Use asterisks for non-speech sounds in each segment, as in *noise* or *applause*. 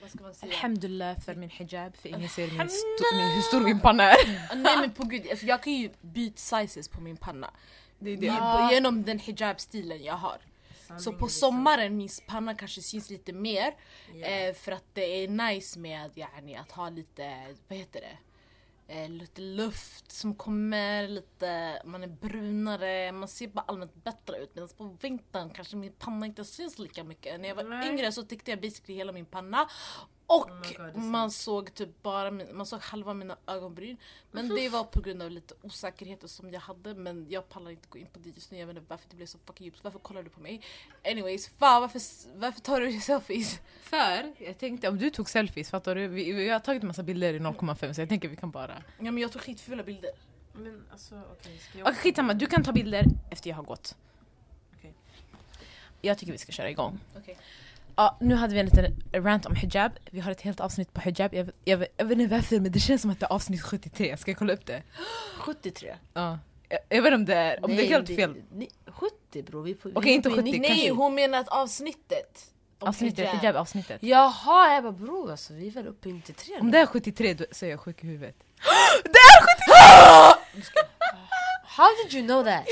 vad ska man Typ. säga? Alhamdulillah för min hijab, för ingen ser min sto- Alhamdulillah. min- hur stor min panna är. Ah, Nej men på gud, alltså, jag kan ju byta sizes på min panna. Det Ah. är Ge- Genom den hijab-stilen jag har. Så på sommaren min panna kanske syns lite mer. Eh, för att det är nice med yani, att ha lite, vad heter det? Eh, lite luft som kommer, lite, man är brunare, man ser bara allmänt bättre ut. Medan på vintern kanske min panna inte syns lika mycket. När jag var Nej. yngre så täckte jag basically hela min panna. Och Oh my God, det är man såg typ bara min, man såg halva mina ögonbryn. Men det var på grund av lite osäkerheter som jag hade men jag pallar inte gå in på det just nu. Jag vet inte varför det blev så fucking djupt. Varför kollar du på mig? Anyways, fan varför, varför tar du *laughs* selfies? För jag tänkte om du tog selfies, fattar du? Vi, vi har tagit massa bilder i 0,5 så jag tänker vi kan bara... Ja men jag tog skitfula bilder. Men alltså okej, ska jag... Okej skitsamma, du kan ta bilder efter jag har gått. Okej. Jag tycker vi ska köra igång. Okej. Ja, nu hade vi en liten rant om hijab. Vi har ett helt avsnitt på hijab. Jag, jag, jag vet inte varför men det känns som att det är avsnitt 73, ska jag kolla upp *gasps* det? 73. Ja. Jag, jag vet inte om det är, om det är helt fel. ni- 70 bror, vi är på... vi Okej, är inte på 70, nittio. kanske. Nej hon menar att avsnittet. om Avsnittet, hijab. hijab-avsnittet. Jaha, jag bara bror alltså vi är väl uppe i 93 nu. Om det är 73 då, så är jag sjuk i huvudet. How did you know *laughs* that?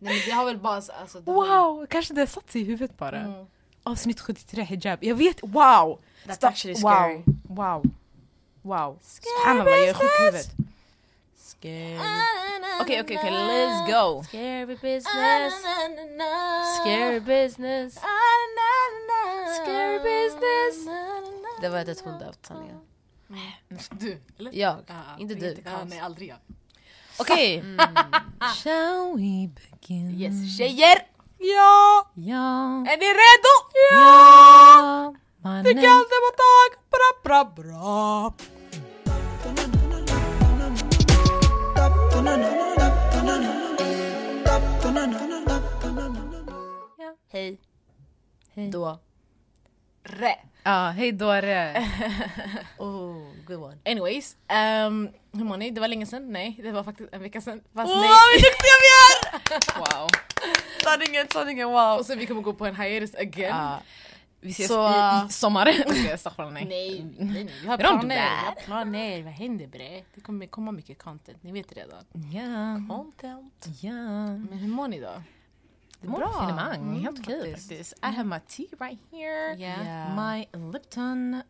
Nej men det har väl bara alltså, det Mm. har- Wow! Kanske det satt sig i huvudet bara. Mm. Avsnitt 73 hijab. Jag vet, wow! That's Stopp. actually scary. Wow, wow, wow. Subhanallah, jag är sjuk i huvudet. Scary, Okej, okej, okej, let's go! scary business, scary business, scary business. Det var ett hundövt sanningen. Du, eller? Jag, Ah, inte du. Ja, nej aldrig jag. *laughs* Okej! Mm. Ah. Shall we begin? Yes tjejer! Ja, Är ni redo? ja, mannen. det var dag! Bra bra bra! Hej. Hej. Då. Re. Ja, hej dåre. Oh, good one. Anyways, ehm, hur mår ni? Det var länge sedan? Nej, det var faktiskt en vecka sedan. Fast Alltså, Wow, nej. vad duktiga vi är! Wow. Sanningen, sanningen, wow. Och sen vi kommer gå på en hiatus again. Ja. vi ses Så- i, i sommar. *laughs* Okej, okay, nej. Nej, nej, nej, vi har Är de planer. Vi där? har planer. Vad händer bre? Det kommer komma mycket content, ni vet redan. Ja, Content. ja. Men hur mår ni då? Det mår Bra. finemang, Mm, helt okej faktiskt. faktiskt. I have my tea right here. Yeah. Yeah. My Lipton.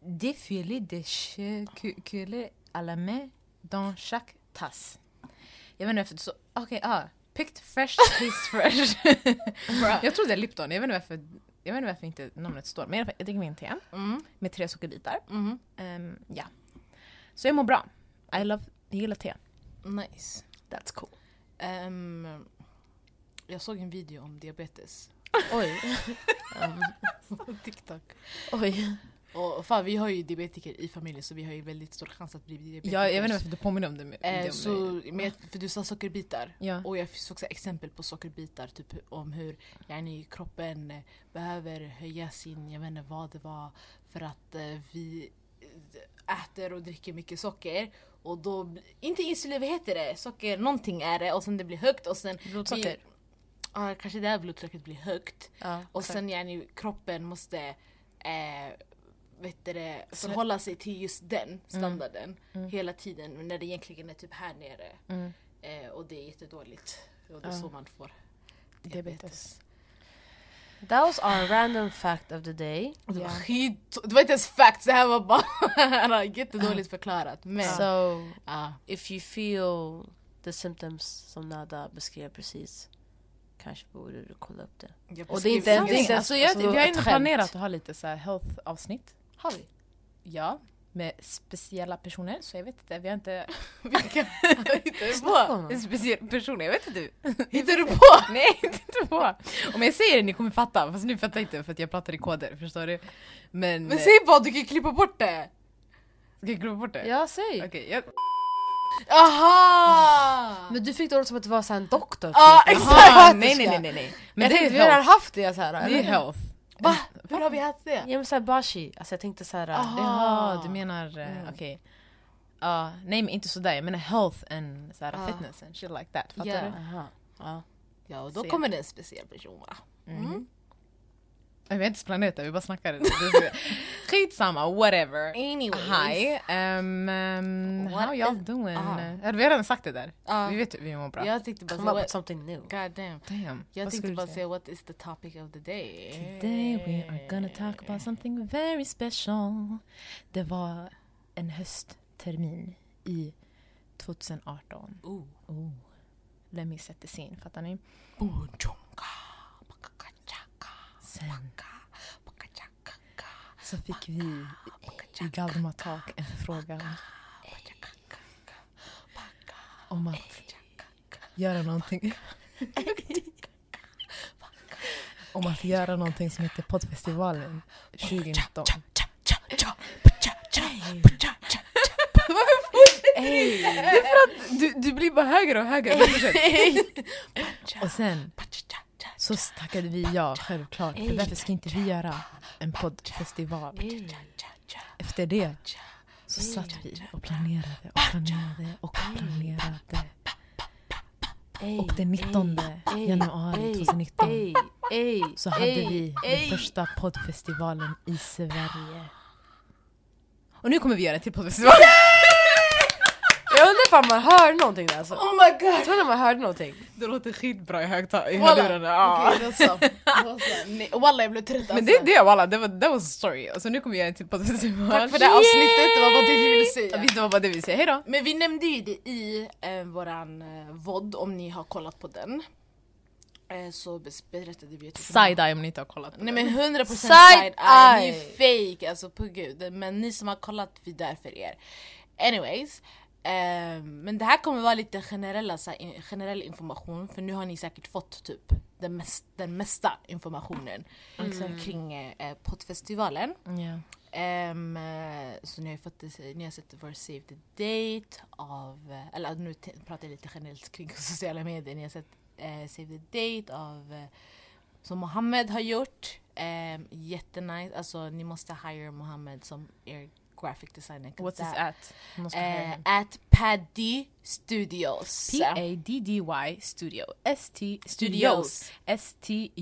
Défilé de chekuler à la main dans chaque tasse. Jag vet inte varför det så... Okej, ah. Picked fresh, taste fresh. *laughs* jag tror det är Lipton, jag vet inte varför, jag vet inte varför inte namnet står. Men i alla fall, jag dricker min te Mm. med tre sockerbitar. Mhm. Ehm, ja. Så jag mår bra. I love, jag gillar te. mm. Nice. That's cool. Ehm, jag såg en video om diabetes. Oj, *laughs* På TikTok. oj. Och fan vi har ju diabetiker i familjen så vi har ju väldigt stor chans att bli diabetiker. Jag, jag vet inte varför du påminner om det. Med, Eh, det om så, mig. men jag- för du sa sockerbitar. Ja. Och jag såg också exempel på sockerbitar, typ om hur yani, kroppen eh, behöver höja sin, jag vet inte vad det var, för att eh, vi eh, äter och dricker mycket socker. Och då, bli- inte insulin, vad heter det? Socker, någonting är det och sen det blir högt och sen... Blodsocker. vi- Ja, kanske där blodsockret blir högt. Ja, Och sen yani, kroppen måste eh, vet du det, förhålla sig till just den standarden hela tiden men när det egentligen är typ här nere. Eh, och det är jättedåligt. Och det är så man får diabetes. That was our random fact of the day. Och det, var skit, det var inte ens facts, det här var bara *laughs* jättedåligt förklarat. Men So ja, if you feel the symptoms som Nada beskrev precis kanske borde du kolla upp det. jag Och det är inte- beskriver- det är inte- alltså, jag, alltså, vi har ett inte skämt. planerat att ha lite så här health avsnitt. Har vi? Ja. Med speciella personer, så jag vet inte. Vi har inte... Vilka- *laughs* Snacka om *laughs* dem. Speciella personer, jag vet inte. du. Hittar du på? Nej, *laughs* inte inte på. Om jag säger det ni kommer fatta. Fast nu fattar jag inte för att jag pratar i koder, förstår du? Men... Men säg bara, du kan ju klippa bort det! Ska jag glömma bort det? Ja, säg! eh, Okej, *laughs* jag... Aha! Men du fick det som att det var så här en doktor. typ. Ja, En exakt. Aha, sköterska. nej, nej, nej, nej, nej. Men jag det är tänkte vi redan health. haft det så här. Det är eller? health. Va? Hur har vi haft det? Ja men såhär bashi, alltså jag tänkte såhär... Aha. Jaha, du menar... eh, Mm. Okej. Ja, nej men inte sådär. Jag menar health and så här, Ah. fitness and shit like that. Fattar Ja. du? Aha. Ja. Ja och då Se. kommer det en speciell person va? Mm. Vi har inte ens planerat det, vi bara snackade. *laughs* Skitsamma, whatever. Anyways. Hi, um, um, What how y'all is- doing? Ah. Hade vi redan sagt det där? Ja. Vi vet hur vi mår bra. Jag tänkte bara Come up säga, with what, something new. god damn. Damn. Jag vad tänkte skulle bara du säga what is the topic of the day? Today we are gonna talk about something very special. Det var en hösttermin i 2018. Ooh. Oh. Let me set the scene, fattar ni? Bonjonga, bakakachaka, Sen bakakachaka, så fick vi i Galdemar Tak en förfrågan om att göra någonting. om att göra någonting som heter Poddfestivalen 2019. Du, du blir bara högre och högre. *laughs* och sen så tackade vi ja, självklart. För varför ska inte vi göra en poddfestival? Efter det så satt vi och planerade och planerade och planerade. Och den 19 januari 2019 Ey, ey, så hade ey, vi den ey. första poddfestivalen i Sverige. Och nu kommer vi göra en till poddfestival. *laughs* Jag undrar ifall man hör någonting där alltså. Oh my god! Jag tror när man hörde någonting. Det låter skitbra i Ah. högtalarna. Walla! Okej, då så. Då så. Nej, Walla jag blev trött alltså. Men det är det walla, det var, det var story. Alltså nu kommer vi göra en till poddfestival. Tack för det avsnittet, det var vad vi ville Jag säga. visste vad bara det vi säger, hejdå! Men vi nämnde ju det i eh, våran eh, VOD om ni har kollat på den. Eh, så bes- berättade vi ju typ- Side-eye om ni inte har kollat på Nej men 100% side-eye, Side ni är fake alltså på gud. Men ni som har kollat, vi är där för er. Anyways, eh, men det här kommer vara lite generella, så här, in- generell information för nu har ni säkert fått typ den, mest, den mesta informationen kring eh, poddfestivalen. det. Ja. Ehm, eh, så ni har ju fått det, ni har sett vår Save the Date av, eh, eller nu t- pratar jag lite generellt kring *laughs* sociala medier, ni har sett eh, Save the Date av, eh, som Mohammed har gjort. Ehm, jättenice, alltså ni måste hire Mohammed som er graphic designer. 'cause What's his that- at? Jag måste höra Eh, den. at Paddy Studios. P-A-D-D-Y studio. S-T Studios. studios.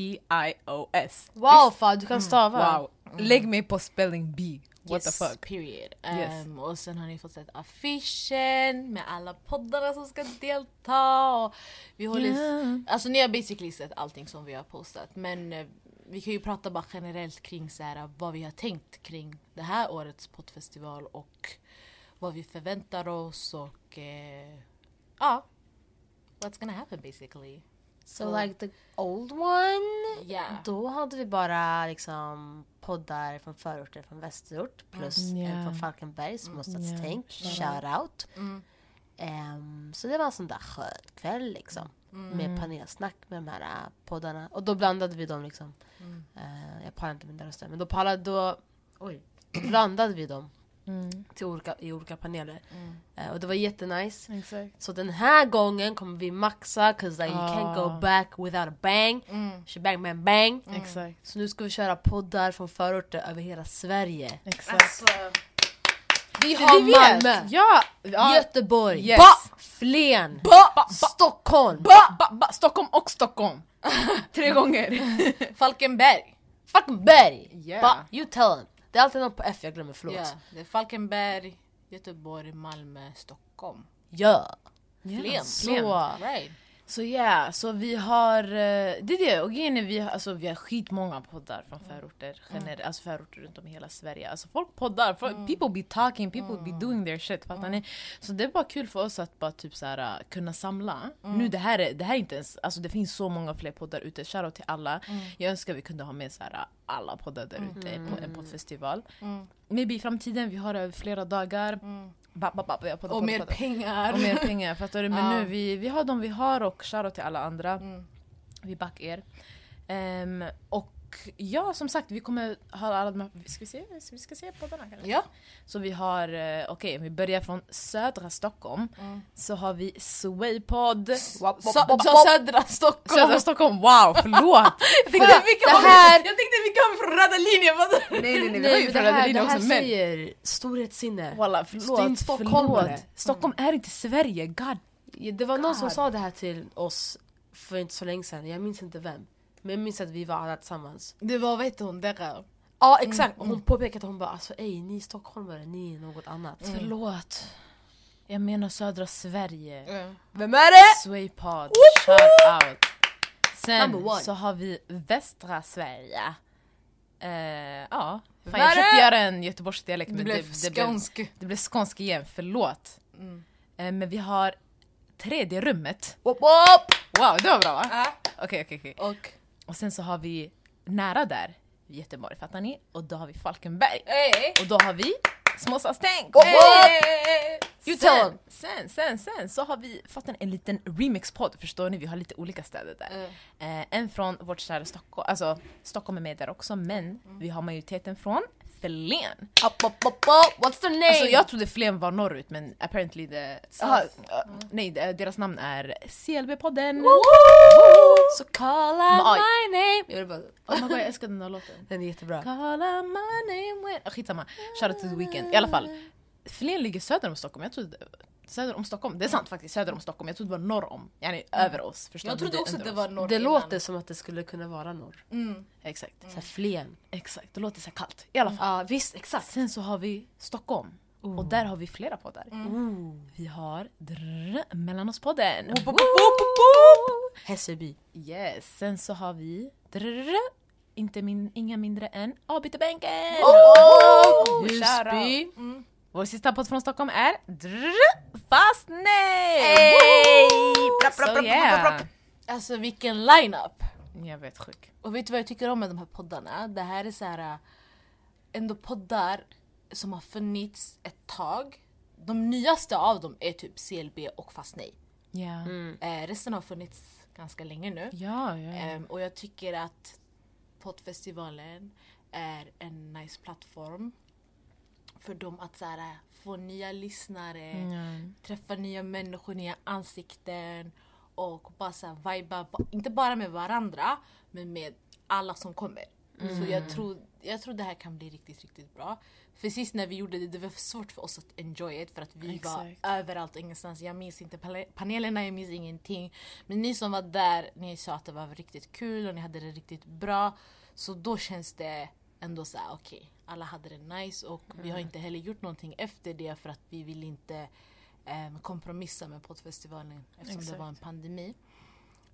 S-T-U-D-I-O-S. Wow Fad, du Mm. kan stava. Wow. Lägg mig på spelling B. What yes, the fuck? Period. Yes. Ehm, och sen har ni fått sett affischen med alla poddarna som ska delta. Och vi håller Alltså ni har basically sett allting som vi har postat men eh, vi kan ju prata bara generellt kring så här, vad vi har tänkt kring det här årets poddfestival och vad vi förväntar oss och eh, ja. What's gonna happen basically. So like the old one. Yeah. Då hade vi bara liksom poddar från förorter från västerort plus Mm. en Ja. från Falkenberg som har Ja. stadstänk. Shout Shout out. Mm. Ehm, så det var en sån där skön kväll liksom. Med Mm. panelsnack med de här äh, poddarna. Och då blandade vi dem liksom. Eh, jag pallar inte med den rösten. Men då, pallade, då oj, blandade vi dem Mm. till olika, i olika paneler. Eh, och det var jättenice. Exakt. Så den här gången kommer vi maxa, 'cause like, you can't Ah. go back without a bang. Mm. Shabang bang bang. Exakt. Så nu ska vi köra poddar från förorter över hela Sverige. Exakt. Alltså, vi har har vi vet. Malmö! Ja! ja. Göteborg, Yes. ba, Flen, Ba, ba, Stockholm, ba, ba, ba. Stockholm *laughs* och Stockholm. Tre gånger. Falkenberg! Falkenberg! Yeah. Ba, you tell them. Det är alltid någon på F jag glömmer, förlåt. Ja, det är Falkenberg, Göteborg, Malmö, Stockholm. Ja. Flen. Så. Right. Så ja, så vi har, eh, det är det, och grejen är vi, har- alltså, vi har skitmånga poddar från Mm. förorter, gener- alltså förorter runt om i hela Sverige. Alltså folk poddar, folk, Mm. people be talking, people be doing their shit, fattar ni? Så det är bara kul för oss att bara typ så här, eh, kunna samla. Mm. Nu det här, är, det här är inte ens, alltså det finns så många fler poddar ute, shoutout till alla. Mm. Jag önskar vi kunde ha med så här, eh, alla poddar där ute på Mm. en poddfestival. Maybe i framtiden, vi har det över flera dagar. Ba, ba, ba, vi har poddar, Och poddar, mer poddar. pengar. Och mer pengar, fattar du? Men Ja. Mm. nu, vi, vi har de vi har och shoutout till alla andra. Vi back er. Ehm, och ja, som sagt, vi kommer ha alla de här... Ska vi se? Vi ska se poddarna kanske? Ja. Så vi har, eh, okej, om vi börjar från södra Stockholm. Mm. Så har vi Swaypod. Så, så södra Stockholm. Södra Stockholm, wow, förlåt! *laughs* Jag tänkte, Fuck, vilka det var- här... jag tänkte vi kom från röda linjen! vad- Nej, nej, nej, vi har Nej, ju men det från Röda här, det linjen här också, men... säger storhetssinne. Walla, Det är förlåt, inte stockholmare. Mm. förlåt. Stockholm är inte Sverige, god Det var någon som sa det här till oss för inte så länge sedan, jag minns inte vem. Men jag minns att vi var alla tillsammans. Det var, vad heter hon, Dera? Ja exakt, hon påpekade hon bara alltså ej ni är stockholmare, ni är något annat. Mm. Förlåt. Jag menar södra Sverige. Vem är det? Swaypod, shout out. Sen Number one. så har vi västra Sverige. Eh, ja, fan, Värre! jag försökte göra en göteborgsdialekt Du men blev det, det, blev, skånsk. det blev skånsk igen, förlåt. Eh, men vi har tredje rummet. Wop, wop. Wow, det var bra va? Ja. Okej, okej, okej. Och Och sen så har vi nära där, Göteborg fattar ni? Och då har vi Falkenberg. Och då har vi Småstadstänk! Wop, wop. You tell Sen, sen, him. sen, sen så har vi fått en, en liten remixpodd, förstår ni? Vi har lite olika städer där. Eh, en från vårt kära Stockholm, alltså Stockholm är med där också men vi har majoriteten från Flen. Up, up, up, up. What's their name? Alltså jag trodde Flen var norrut men apparently the... Aha, eh, nej, eh, deras namn är CLB-podden! So call out Oj. my name. Jag vill bara, Oh my god jag älskar den där låten. den är jättebra. Call out my name when... Ah, Skitsamma, shoutout till The Weeknd. I alla fall, Flen ligger söder om Stockholm. Jag trodde... Söder om Stockholm, det är sant faktiskt, söder om Stockholm. Jag trodde det var norr om, yani över oss. Förstår Mm. jag ni? trodde också under att det oss. var norr Det innan. låter som att det skulle kunna vara norr. Mm. Exakt, Så här Flen. exakt. Det låter så här kallt. I alla fall. Ja visst, exakt. Sen så har vi Stockholm. Och Oh. där har vi flera poddar. Mm. Vi har drr, Mellanospodden. Hässelby. Yes. Sen så har vi drr, inte min, inga mindre än Avbytarbänken. Oh! Shout out. Husby. Vår sista podd från Stockholm är drr, Fast nej! Bra, bra, bra, So bra, yeah. bra, Alltså vilken line-up! Jag vet sjuk. Och vet du vad jag tycker om med de här poddarna? Det här är så här äh, ändå poddar som har funnits ett tag. De nyaste av dem är typ CLB och Fast Nej. Ja. Eh, resten har funnits ganska länge nu. Mm. Ja, ja. Ehm, och jag tycker att poddfestivalen är en nice plattform för dem att så här, äh, få nya eh, lyssnare, Mm. träffa nya människor, nya ansikten och bara så här, viba, ba- inte bara med varandra men med alla som kommer. Så jag tror, jag tror det här kan bli riktigt, riktigt bra. För sist när vi gjorde det, det var för svårt för oss att enjoy it för att vi var Exakt. överallt och ingenstans. Jag minns inte pane- panelerna, jag minns ingenting. Men ni som var där, ni sa att det var riktigt kul och ni hade det riktigt bra. Så då känns det ändå så här, okej, alla hade det nice och vi har Mm. inte heller gjort någonting efter det för att vi vill inte eh, kompromissa med poddfestivalen eftersom det var en pandemi.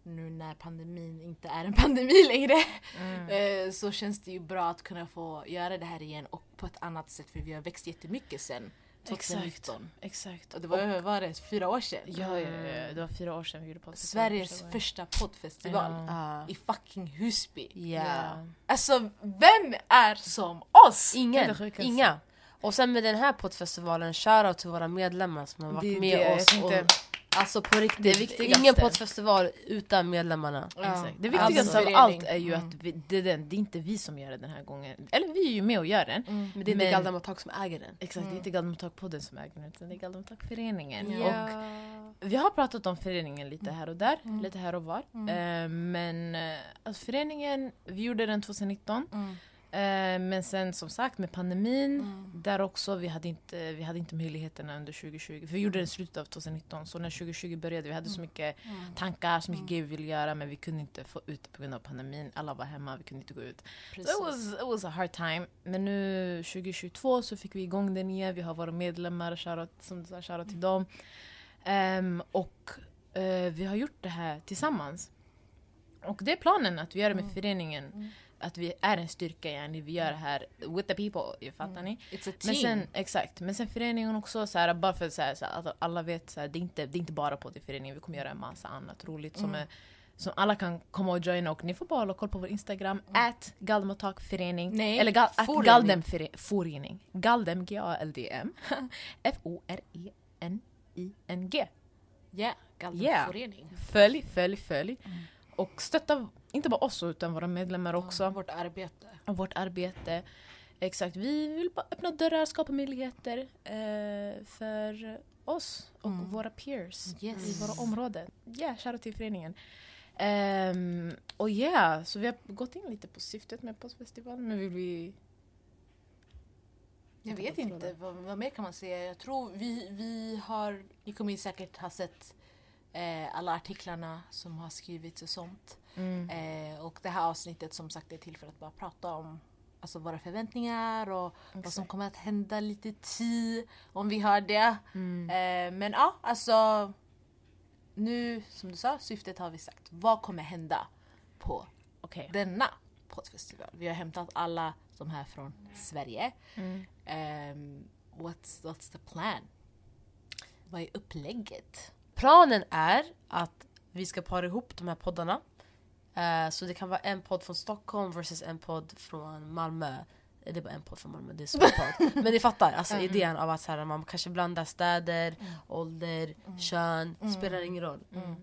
Nu när pandemin inte är en *laughs* pandemi längre Mm. eh, så känns det ju bra att kunna få göra det här igen och på ett annat sätt för vi har växt jättemycket sen 2019. Exakt. Och det var, vad var det, fyra år sedan? Ja, ja, ja, det var fyra år sedan vi gjorde podden. Sveriges första poddfestival Ja. i fucking Husby. Ja. Alltså vem är som oss? Det är det Ingen. sjukaste. Inga. Och sen med den här poddfestivalen, shoutout till våra medlemmar som har Det varit är med det, jag oss. tänkte- och, alltså på Det riktigt, viktigaste. ingen poddfestival utan medlemmarna. Exakt. Det Ja, Mm. viktigaste av förening. allt är ju att vi, det, är den, det är inte vi som gör det den här gången. Eller vi är ju med och gör den. Mm. Men det är inte Galdamatag som äger den. Exakt, det är inte Galdamottag-podden som äger den utan det är Galdamottag-föreningen. Ja. Och vi har pratat om föreningen lite här och där, lite här och var. Mm. Eh, men eh, alltså, föreningen, vi gjorde den 2019. Mm. Eh, men sen som sagt med pandemin, Mm. där också, vi hade, inte, vi hade inte möjligheterna under 2020. För vi gjorde den i slutet av 2019, så när 2020 började, vi hade så mycket tankar, så mycket grejer vi ville göra men vi kunde inte få ut det på grund av pandemin. Alla var hemma, vi kunde inte gå ut. So it, was, it was a hard time. Men nu 2022 så fick vi igång den igen. Vi har våra medlemmar, shoutout, som du sa, shoutout till dem. Ehm, och eh, vi har gjort det här tillsammans. Och det är planen att vi gör det med föreningen. Att vi är en styrka, yani. vi gör det här with the people, fattar ni? It's a team. Men sen, exakt, men sen föreningen också, så här, bara för så här, så här, att alla vet, så här, det, är inte, det är inte bara på det föreningen, vi kommer göra en massa annat roligt Mm. som, är, som alla kan komma och joina och ni får bara hålla koll på vår Instagram, at galdemottagförening, Mm. Nej, eller gal, at förening. galdemförening, *laughs* galdem, G-A-L-D-M, F-O-R-E-N-I-N-G. Yeah, Yeah. Galdenförening. Följ, följ, följ. Mm. Och stötta, inte bara oss utan våra medlemmar också Vårt arbete. om vårt arbete. Exakt, vi vill bara öppna dörrar, skapa möjligheter eh, för oss och våra peers Yes. i våra områden. Ja, yeah, shoutout till föreningen. Ehm, och ja, yeah, så vi har gått in lite på syftet med postfestivalen men vill vi... Jag vet inte, vad, vad mer kan man säga? Jag tror vi, vi har, ni kommer ju säkert ha sett eh, alla artiklarna som har skrivits och sånt. Eh, och det här avsnittet som sagt är till för att bara prata om alltså, våra förväntningar och vad som kommer att hända lite tid om vi har det. Eh, men ja, alltså nu som du sa, syftet har vi sagt. Vad kommer hända på Okej. denna poddfestival? Vi har hämtat alla de här från Sverige. Ehm, what's, what's the plan? Vad är upplägget? Planen är att vi ska para ihop de här poddarna. Eh, så det kan vara en podd från Stockholm versus en podd från Malmö. Eh, Det är bara en podd från Malmö, det är så podd. Men ni fattar, alltså idén av att så här, man kanske blandar städer, ålder, kön, spelar ingen roll. Mm.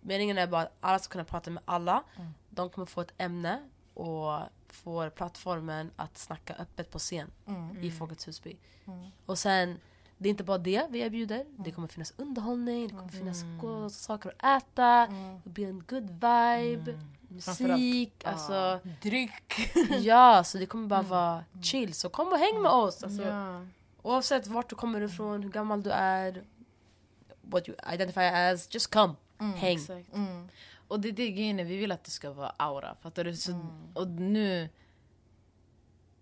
Meningen är bara att alla ska kunna prata med alla. De kommer få ett ämne och får plattformen att snacka öppet på scen i Mm. Folkets Husby. Och sen, det är inte bara det vi erbjuder. Mm. Det kommer finnas underhållning, det kommer finnas goda saker att äta, Mm. det blir en good vibe, musik, alltså. Dryck! *laughs* Ja, så det kommer Mm. bara vara chill. Så kom och häng med oss! Alltså, Oavsett vart du kommer ifrån, hur gammal du är, what you identify as, just come. Häng. Mm, Exakt. Mm. Och det är det grejen är, vi vill att det ska vara aura. Fattar du? Så, Och nu...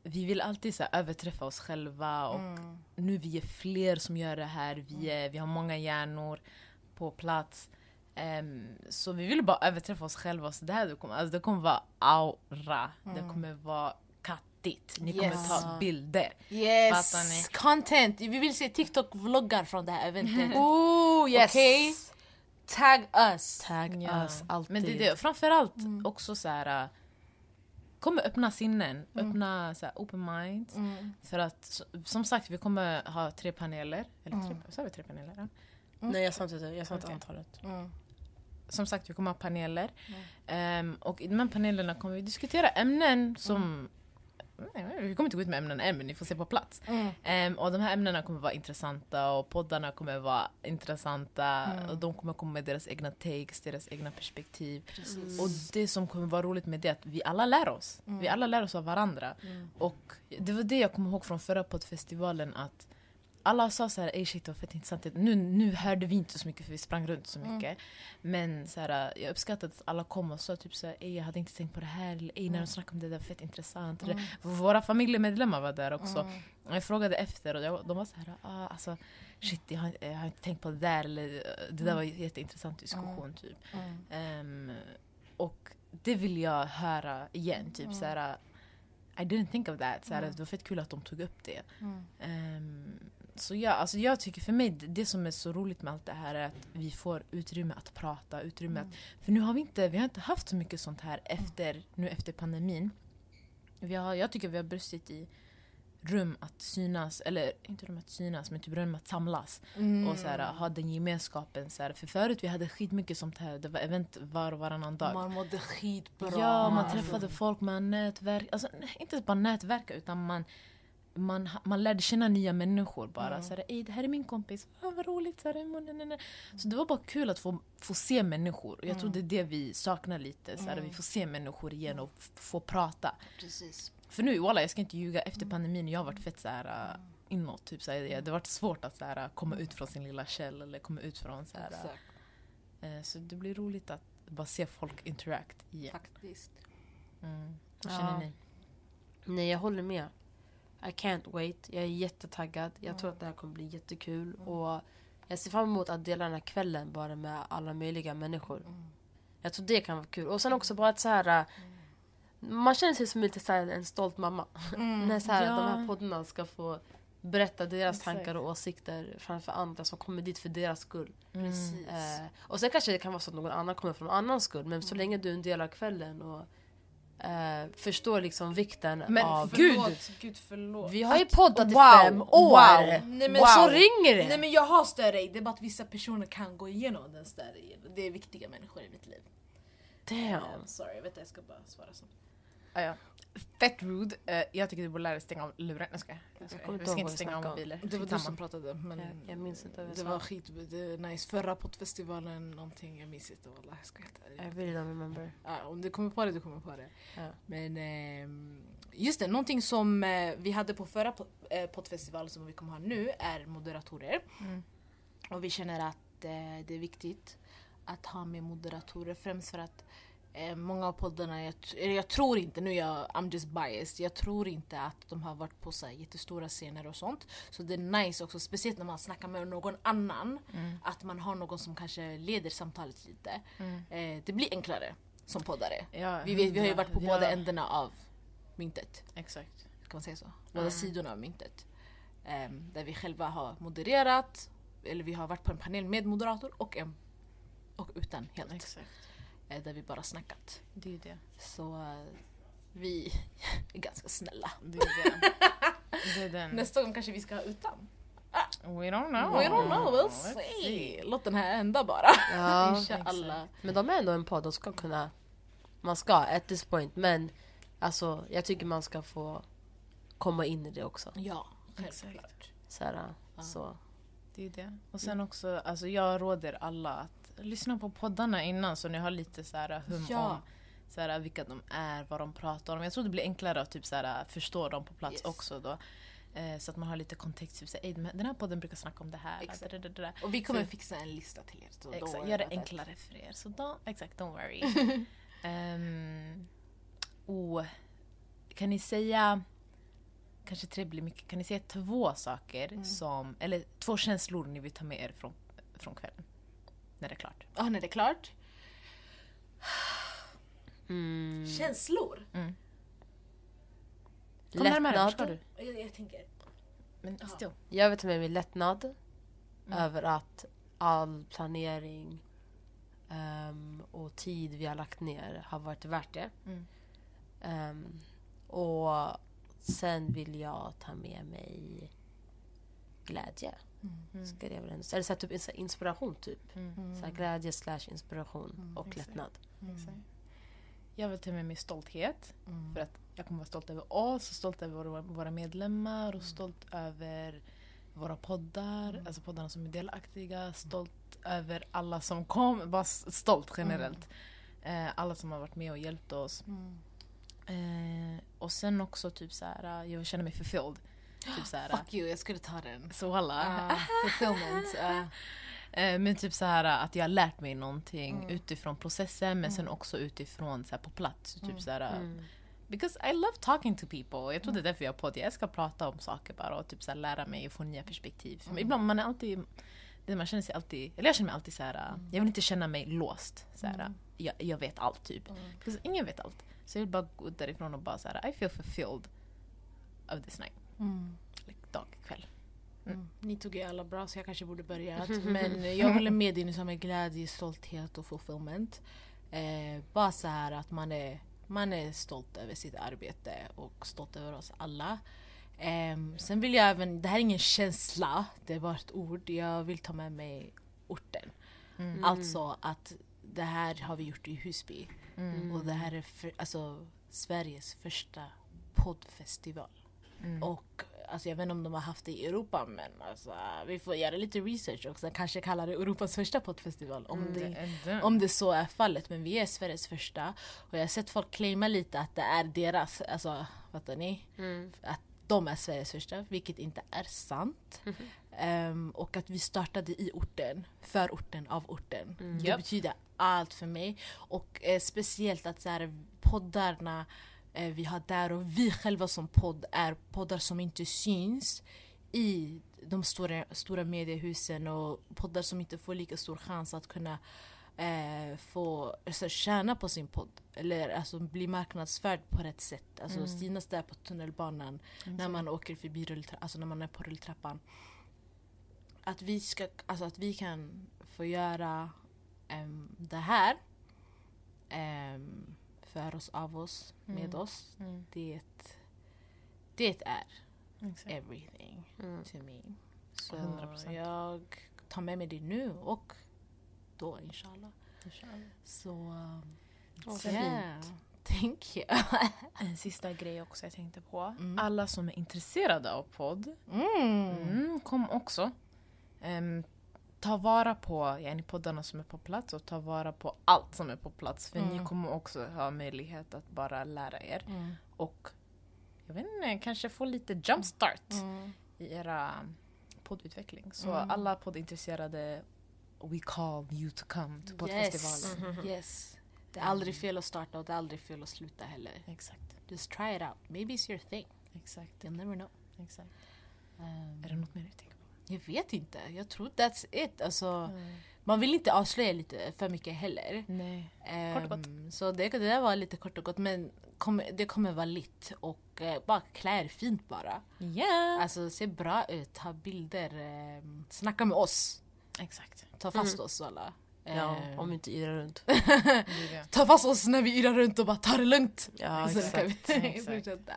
Vi vill alltid så här, överträffa oss själva och nu vi är fler som gör det här. Vi, är, vi har många hjärnor på plats. Ehm, så vi vill bara överträffa oss själva. Så det här det kommer, alltså det kommer vara aura. Det kommer vara kattigt. Ni kommer Yes. ta bilder. Fattar Yes! ni? Content! Vi vill se TikTok-vloggar från det här *laughs* eventet. Ooh, Okej? Tag us! Tag Ja. us alltid. Men det är det. Framförallt också så här. äh, Kommer öppna sinnen, öppna så här, open mind. Mm, För att s- som sagt vi kommer ha tre paneler. Eller tre, sa vi tre paneler? Ja. Nej jag sa inte det, jag sa inte Mm. Okej. antalet. mm, Som sagt vi kommer ha paneler. Ehm, och i de här panelerna kommer vi diskutera ämnen som Nej, vi kommer inte gå ut med ämnen än men ni får se på plats. Ehm, och de här ämnena kommer vara intressanta och poddarna kommer vara intressanta. Och de kommer komma med deras egna takes, deras egna perspektiv. Och det som kommer vara roligt med det är att vi alla lär oss. Vi alla lär oss av varandra. Och det var det jag kommer ihåg från förra poddfestivalen att alla sa så här, ey shit det var fett intressant. Nu, nu hörde vi inte så mycket för vi sprang runt så mycket. Men så här, jag uppskattade att alla kom och sa typ så här, ey jag hade inte tänkt på det här. Eller, ey när de snackade om det där, fett intressant. Eller, Våra familjemedlemmar var där också. Och jag frågade efter och jag, de var så här, ah, alltså shit jag har, jag har inte tänkt på det där. Eller, det där var en jätteintressant diskussion typ. mm, Ehm, och det vill jag höra igen. Typ så här, I didn't think of that. Så här, Det var fett kul att de tog upp det. mm. Ehm, så ja, alltså jag tycker för mig, det- det som är så roligt med allt det här är att vi får utrymme att prata. Utrymme att, för nu har vi inte, vi har inte haft så mycket sånt här efter, nu efter pandemin. Vi har, jag tycker vi har brustit i rum att synas, eller inte rum att synas men typ rum att samlas. Mm. Och så här, ha den gemenskapen. Så här. För förut vi hade skitmycket sånt här, det var event var och varannan dag. Man mådde skitbra. Ja, man Alltså, träffade folk, man nätverk, alltså nej, inte bara nätverka utan man, man, ha- man lärde känna nya människor bara. Så här, Ej, det här är min kompis, ah, vad roligt. Så, här, mm, nej, nej, nej. så det var bara kul att få, få se människor. Jag tror det är det vi saknar lite, så här, vi får se människor igen och f- få prata. Precis. För nu, walla, jag ska inte ljuga, Mm. efter pandemin jag har varit fett så här äh, inåt. Typ, så här, det det har varit svårt att så här, äh, komma ut från sin lilla käll eller komma ut från så här. Exakt. eh, Så det blir roligt att bara se folk interact igen. Faktiskt. Mm. Vad Ja. känner ni? Nej jag håller med. I can't wait. Jag är jättetaggad. Jag tror att det här kommer bli jättekul. Och jag ser fram emot att dela den här kvällen bara med alla möjliga människor. Jag tror det kan vara kul. Och sen också bara att så här. äh, Man känner sig som lite så här en stolt mamma. Mm. När så här, Ja. de här poddarna ska få berätta deras Exakt. tankar och åsikter framför andra som kommer dit för deras skull. Mm. Precis. Eh, och sen kanske det kan vara så att någon annan kommer från någon annans skull men så länge du är en del av kvällen och eh, förstår liksom vikten Men av... Förlåt, gud, förlåt. Vi har ju poddat i Wow, fem år! wow. Nej, men och så wow. ringer det! Nej men jag har större i, det är bara att vissa personer kan gå igenom den större i. Det är viktiga människor i mitt liv. Damn. I'm sorry, jag vet att jag ska bara svara så. Ja, ja. Fett rude. Eh, jag tycker du borde lära dig stänga av luren. Jag skojar. Jag skojar. kommer Vi inte ska ihåg inte vad vi stänga snackade av om. mobiler. Det var du Skitsamma. som pratade men Jag, jag minns inte vad jag det sa. var skit, det, nice. Förra poddfestivalen någonting, jag minns inte wallah. Jag ska helt I ärligt. really don't *laughs* remember. Ja, om du kommer på det, du kommer på det. Ja. Men ehm, just det, någonting som eh, vi hade på förra po- eh, poddfestivalen som vi kommer ha nu är moderatorer. Och vi känner att eh, det är viktigt att ha med moderatorer främst för att Eh, många av poddarna, jag, t- eller jag tror inte, nu jag, I'm just biased, jag tror inte att de har varit på så här jättestora scener och sånt. Så det är nice också, speciellt när man snackar med någon annan, Mm, att man har någon som kanske leder samtalet lite. Eh, det blir enklare som poddare. mm. Ja, Vi, vet, vi har ju hundra. varit på Ja, båda ändarna av myntet, Exakt. kan man säga så? Mm. Båda sidorna av myntet. Ehm, där vi själva har modererat, eller vi har varit på en panel med moderator och, en, och utan helt. Exakt. Eh, där vi bara snackat. Det är ju det. Så eh, vi *laughs* är ganska snälla. Det är det. det är den. Nästa gång kanske vi ska ha utan. We don't know. We don't know, we'll Let's see. Låt den här hända bara. Ja. Insha alla. Men de är ändå en podd, de ska kunna... Man ska, at this point. Men alltså, jag tycker man ska få komma in i det också. Ja, Exakt. självklart. Så här, så. Det är det. Och sen Mm. också, alltså jag råder alla att lyssna på poddarna innan så ni har lite så här hum Ja. om så här, vilka de är, vad de pratar om. Jag tror det blir enklare att typ så här, förstå dem på plats Yes. också då. Eh, så att man har lite kontext. Typ, så här, "Ey, men den här podden brukar snacka om det här. Exakt. da, da, da, da." Och vi kommer Så- fixa en lista till er. så don't Exakt, worry gör det about that. enklare för er. Så don't, exakt, don't worry. Ehm, och kan ni säga, kanske tre blir mycket, kan ni säga två saker som, eller två känslor ni vill ta med er från, från kvällen? När det är klart. Ja, när det är klart. Mm. Känslor? Kom närmare, Lättnad. förstår du? Jag, tänker. Men still. Jag vet med min lättnad Mm. över att all planering ehm, och tid vi har lagt ner har varit värt det. Mm. Ehm, och sen vill jag ta med mig glädje. Mm. Mm. Skulle jag väl ändå säga. Eller så här, typ ins- inspiration typ. Så här, glädje slash inspiration och lättnad. Mm, Mm. Exakt. Jag vill ta med mig stolthet. Mm. För att jag kommer vara stolt över oss, och stolt över våra, våra medlemmar och stolt över våra poddar, alltså poddarna som är delaktiga. Stolt över alla som kom, bara s- stolt generellt. Eh, alla som har varit med och hjälpt oss. Mm. Eh, och sen också typ så här, jag känner mig förfylld. Typ så här, Fuck you, jag skulle ta den. så alla. Ah, fulfillment. ah. *laughs* Eh, Men typ så här att jag har lärt mig någonting utifrån processen men sen också utifrån så här, på plats. Typ så här, Mm. Because I love talking to people. Jag tror det är därför jag har podd. Jag älskar att prata om saker bara och typ så här, lära mig och få nya perspektiv. För ibland man är alltid, det man känner sig alltid, eller jag känner mig alltid så här. jag vill inte känna mig låst. Så här, jag, jag vet allt typ. Because ingen vet allt. Så jag vill bara gå därifrån och bara så här, I feel fulfilled of this night. Like dag, kväll. Ni tog ju alla bra så jag kanske borde *laughs* börjat. Men jag håller med dig nu som är glädje, stolthet och fulfillment. Eh, bara så här att man är, man är stolt över sitt arbete och stolt över oss alla. Ehm, sen vill jag även, det här är ingen känsla, det är bara ett ord. Jag vill ta med mig orten. Mm. Alltså att det här har vi gjort i Husby. Mm. Och det här är för, alltså, Sveriges första poddfestival. Mm. Och alltså, jag vet inte om de har haft det i Europa men alltså, vi får göra lite research också. Kanske kalla det Europas första poddfestival om, Mm. det, om det så är fallet. Men vi är Sveriges första. Och jag har sett folk claima lite att det är deras, alltså fattar ni? mm, Att de är Sveriges första, vilket inte är sant. Ehm, och att vi startade i orten, för orten, av orten. Det Japp. betyder allt för mig. Och eh, speciellt att så här, poddarna eh, vi har där och vi själva som podd är poddar som inte syns i de stora, stora mediehusen och poddar som inte får lika stor chans att kunna eh, få alltså, tjäna på sin podd. Eller alltså, bli marknadsförd på rätt sätt. Alltså synas där på tunnelbanan Mm. när man åker förbi rulltra- alltså när man är på rulltrappan. Att vi, ska, alltså, att vi kan få göra em, det här em, för oss, av oss, med oss. Mm. Det, det är everything mm. to me. Så 100%. jag tar med mig det nu och då inshallah. Så... um, Åh, vad yeah. Thank you. En sista grej också jag tänkte på. Mm. Alla som är intresserade av podd, mm, kom också. Ehm, ta vara på ja, ni poddarna som är på plats och ta vara på allt som är på plats. För ni kommer också ha möjlighet att bara lära er. Och jag vet inte, kanske få lite jumpstart Mm. i era poddutveckling. Så alla poddintresserade, we call you to come to poddfestivalen. Yes. yes. Det är Mm. aldrig fel att starta och det är aldrig fel att sluta heller. Exakt, Just try it out. Maybe it's your thing. exakt, You'll never know. exakt. Ehm, Är det något mer du tänker på? Mm. jag vet inte. Jag tror that's it. Alltså, Man vill inte avslöja lite för mycket heller. Nej. Ehm, Kort och Så det, det där var lite kort och gott men kom, det kommer vara litt och eh, bara klä er fint bara. Yeah! Alltså se bra ut, ta bilder, ehm, snacka med oss. *laughs* Exakt. Ta fast oss alla. Ja, Ehm, om vi inte yrar runt. Det är det. Ta fast oss när vi yrar runt och bara ta det lugnt. Ja, Så kan *laughs* exakt. vi *laughs* exakt. fortsätta.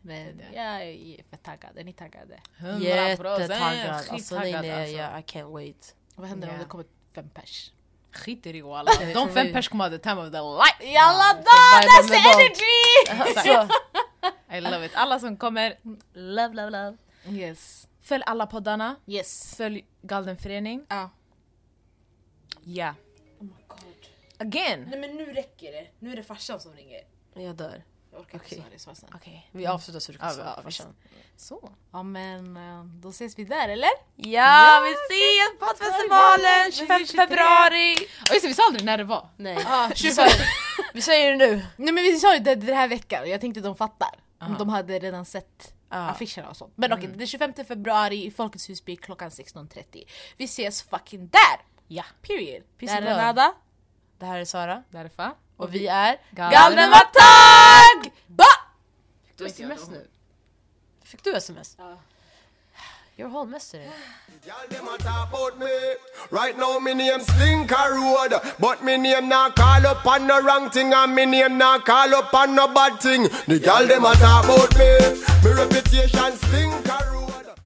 Men Det är det. jag är fett taggad, är ni taggade? 100%. Jättetaggad. Alltså, nej, Skittaggad nej, alltså. jag- I can't wait. Vad händer Ja. om det kommer fem pers? Skiter i walla. Eh, De fem pers kommer ha the time of their life. Jalla då! vibe That's on the the boat. energy! Så, I love it. Alla som kommer, love, love, love. *laughs* Yes. Följ alla poddarna. Yes. Följ Galdenförening. Ja. Ja. Oh my god. Again! Nej men nu räcker det. Nu är det farsan som ringer. jag dör. Jag orkar Okej. inte svara, det är så sen. Okej. Vi avslutar så du kan Ja, svara ja, på farsan. Så. Ja men eh, då ses vi där eller? Ja, vi ses! Poddfestivalen 25 februari! Och just det, vi sa aldrig när det var. Nej, *laughs* Ah, vi säger- vi säger det nu. Nej men vi sa ju det den här veckan jag tänkte de fattar. Om Ah. De hade redan sett Ja. affischerna och sånt. Men okej, Mm. den 25 februari i Folkets Husby klockan 16.30. Vi ses fucking där! Ja. Period. Peace Där and är love. Nada. Det här är Sara Därför. och vi är Galna Matag! Ba! Fick du sms nu? Fick du sms? Ja. You're home yesterday. Y'all dem a talk about me. Right now me name Slinker Road, but me name not call up on no wrong thing, and me name not call up on no bad thing. The y'all dem a talk about me. Me reputation Slinker